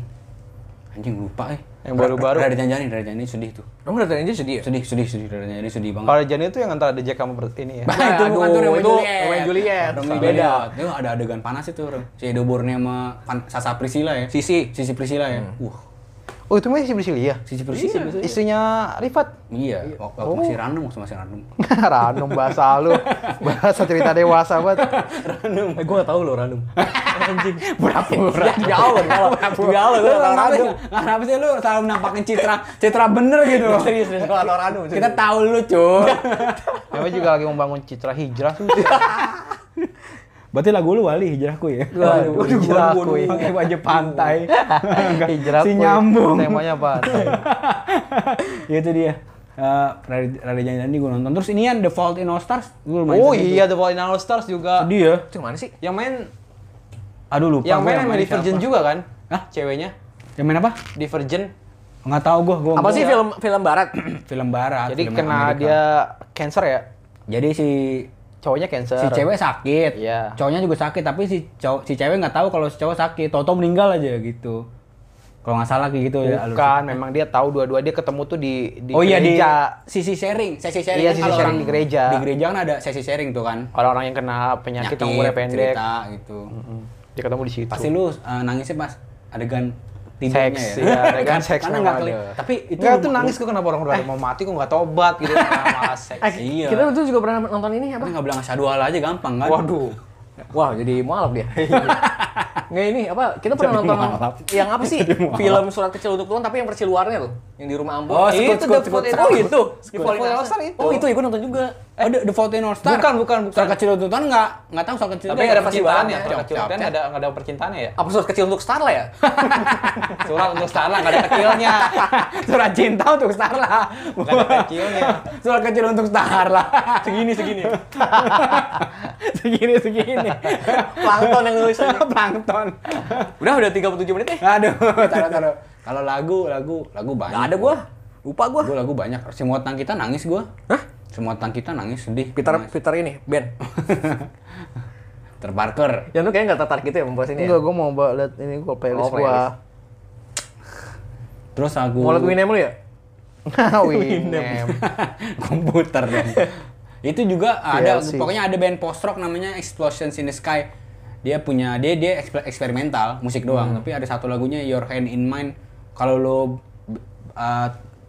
anjing lupa eh. Yang baru-baru. Dari janjani, dari janjani sedih tuh. Kamu udah tanya aja sedih ya? Sedih, sedih, sedih. Dari janjani sedih banget. Kalau Jani itu yang antara The Jack sama Bert- ini ya. Bah, itu Aduh, bukan tuh Romeo itu Juliet. Romeo and Juliet. Romeo and Beda. Juliet. Itu ada adegan panas itu, Rom. Si Edo Borne sama Pan- Sasa Priscilla ya. Sisi. Sisi Priscilla ya. Uh, Oh, itu mah si Brisilia. Sisi Priscilla. Iya. Istrinya Rifat. Iya, waktu waktu masih ranum, waktu masih ranum. Ranum bahasa lu. Bahasa cerita dewasa banget. Ranum. Eh, gue gak tau lo Ranum. Anjing. Pura-pura. Ya, jauh lo. Jauh lo. Gue gak tau Lu kenapa sih- Ranum. Kenapa sih lu selalu nampakin citra citra bener gitu? Serius, serius. Gue gak tau Ranum. Kita tahu lu, cuy. Memang juga lagi membangun citra hijrah tuh. Berarti lagu lu wali hijrahku ya. Waduh, hijrahku ya. Pakai baju pantai. hijrah. Si kuy. nyambung. Temanya apa? ya itu dia Eh, Rade Rade Jangan Janji gue nonton terus ini yang The Fault in Our Stars gue lumayan Oh sedih iya tuh. The Volcano Stars juga. sedih ya Itu mana sih? Yang main aduh lupa yang gua main Emily siapa. Virgin juga kan? Hah? Ceweknya yang main apa Divergent. nggak tahu gue gue Apa sih film film barat? film barat Jadi Ah, film kena Amerika. dia cancer ya. jadi si Cowoknya cancer. si cewek sakit Iya. cowoknya juga sakit tapi si cowok si cewek nggak tahu kalau si cowok sakit toto meninggal aja gitu kalau nggak salah kayak gitu ya alur Bukan, memang dia tahu dua-dua dia ketemu tuh di di oh iya di gereja. sisi sharing sesi sharing Iya, kan sisi kalau sharing orang- di gereja. di gereja kan ada sesi sharing tuh kan Orang-orang yang kena penyakit, yang umurnya pendek. cerita gitu Mm, Dia ketemu di situ. Pasti lu uh, nangisnya pas adegan tidurnya seks ya. ya, adegan Kan- seks karena memang nggak ada. keli- Tapi itu Eh. Nggak, lu- tuh nangis kok kenapa orang udah mau mati kok nggak tobat gitu malah Eh, seks. Iya. Kita dulu juga pernah nonton ini Kan apa? nggak bilang asyhadu alla aja gampang kan? Waduh. Wah, jadi mualaf dia. Nggak ini apa? Kita pernah Jadi nonton mualaf. yang apa sih? Jadi mualaf. Film surat kecil untuk Tuhan tapi yang versi luarnya loh, yang di rumah Ambon. Oh, Itu Scoot, The Scoot, Fault in Scoot. Our- Oh, itu. Scoot. Fault in Our Star itu. Oh, itu ya gue nonton juga. Oh, the, the Fault in Our Star. Bukan, bukan, bukan. Soal kecil itu kan nggak nggak tahu soal kecil. Tapi itu ada apa. percintaan ya, percintaannya. surat kecil kan ada nggak ada percintaannya ya. Apa surat kecil untuk Starla ya? Surat untuk Starla nggak ada kecilnya. Surat cinta untuk Starla. Nggak ada kecilnya. Surat kecil untuk Starla. segini segini. segini segini. Plankton yang nulis. Plankton. Udah udah 37 menit ya. Aduh, taruh taruh. Kalau lagu, lagu, lagu banyak. Nggak ada gua. Lupa gua. Gue lagu banyak. Semua tang kita nangis gua. Hah? Semua tang kita nangis sedih. Peter Nangis. Peter ini, Ben. Peter Parker. Yang lu kayaknya nggak tertarik gitu ya membahas ini ya? Enggak, gue mau ba- liat ini gue playlist Oh, gue. playlist. Terus lagu Mau liat Winem lu ya? Winem. komputer dong. Itu juga ada TLC. pokoknya ada band post rock namanya Explosions in the Sky. Dia punya dia dia eksper- eksperimental musik doang, tapi ada satu lagunya Your Hand in Mine. Kalau lo uh,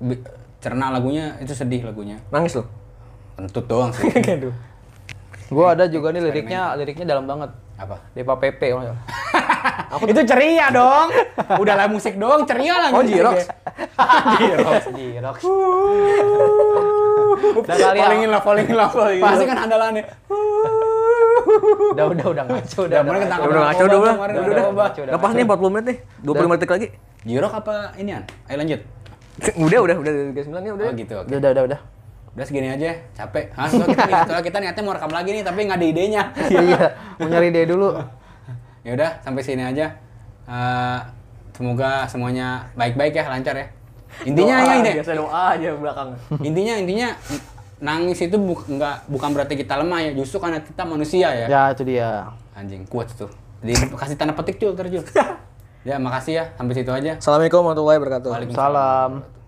bi- cerna lagunya itu sedih lagunya. Nangis lu? Kentut doang sih. Aduh. Gue ada juga nih liriknya, liriknya dalam banget. Apa? Depa Pepe. kalau nggak salah. Itu ceria dong. Udahlah musik dong, ceria lah. Oh, musik Jirox. ya. Jirox. Jirox. Uhuh. Udah kali Uhuh. ya. Falling in love, falling in love. Uhuh. Pasti kan andalannya. Udah, udah, udah ngaco. Udah, Udah, mulai ketangkap. Udah udah ngaco udah udah. Kemarin Udah ada udah. obat. Udah pas nih 40 menit nih. 25 detik lagi. Jirok apa inian? Ayo lanjut. Udah udah udah 39 nih ya, udah. Oh gitu, oke. Udah, udah, udah, udah. Udah segini aja, capek. Hah, soalnya kita, nih, soalnya kita niatnya mau rekam lagi nih, tapi nggak ada idenya. Iya, iya. Mau nyari dia dulu. ya udah, sampai sini aja. Eh, semoga semuanya baik-baik ya, lancar ya. Intinya Doa, ya, ini. Biasa doa aja belakangan. intinya intinya nangis itu bu- nggak bukan berarti kita lemah ya, justru karena kita manusia ya. Ya, itu dia. Anjing, kuat tuh. Jadi kasih tanda petik Jul, ntar Jul. ya, makasih ya. Sampai situ aja. Assalamualaikum warahmatullahi wabarakatuh. Waalaikumsalam. Salam.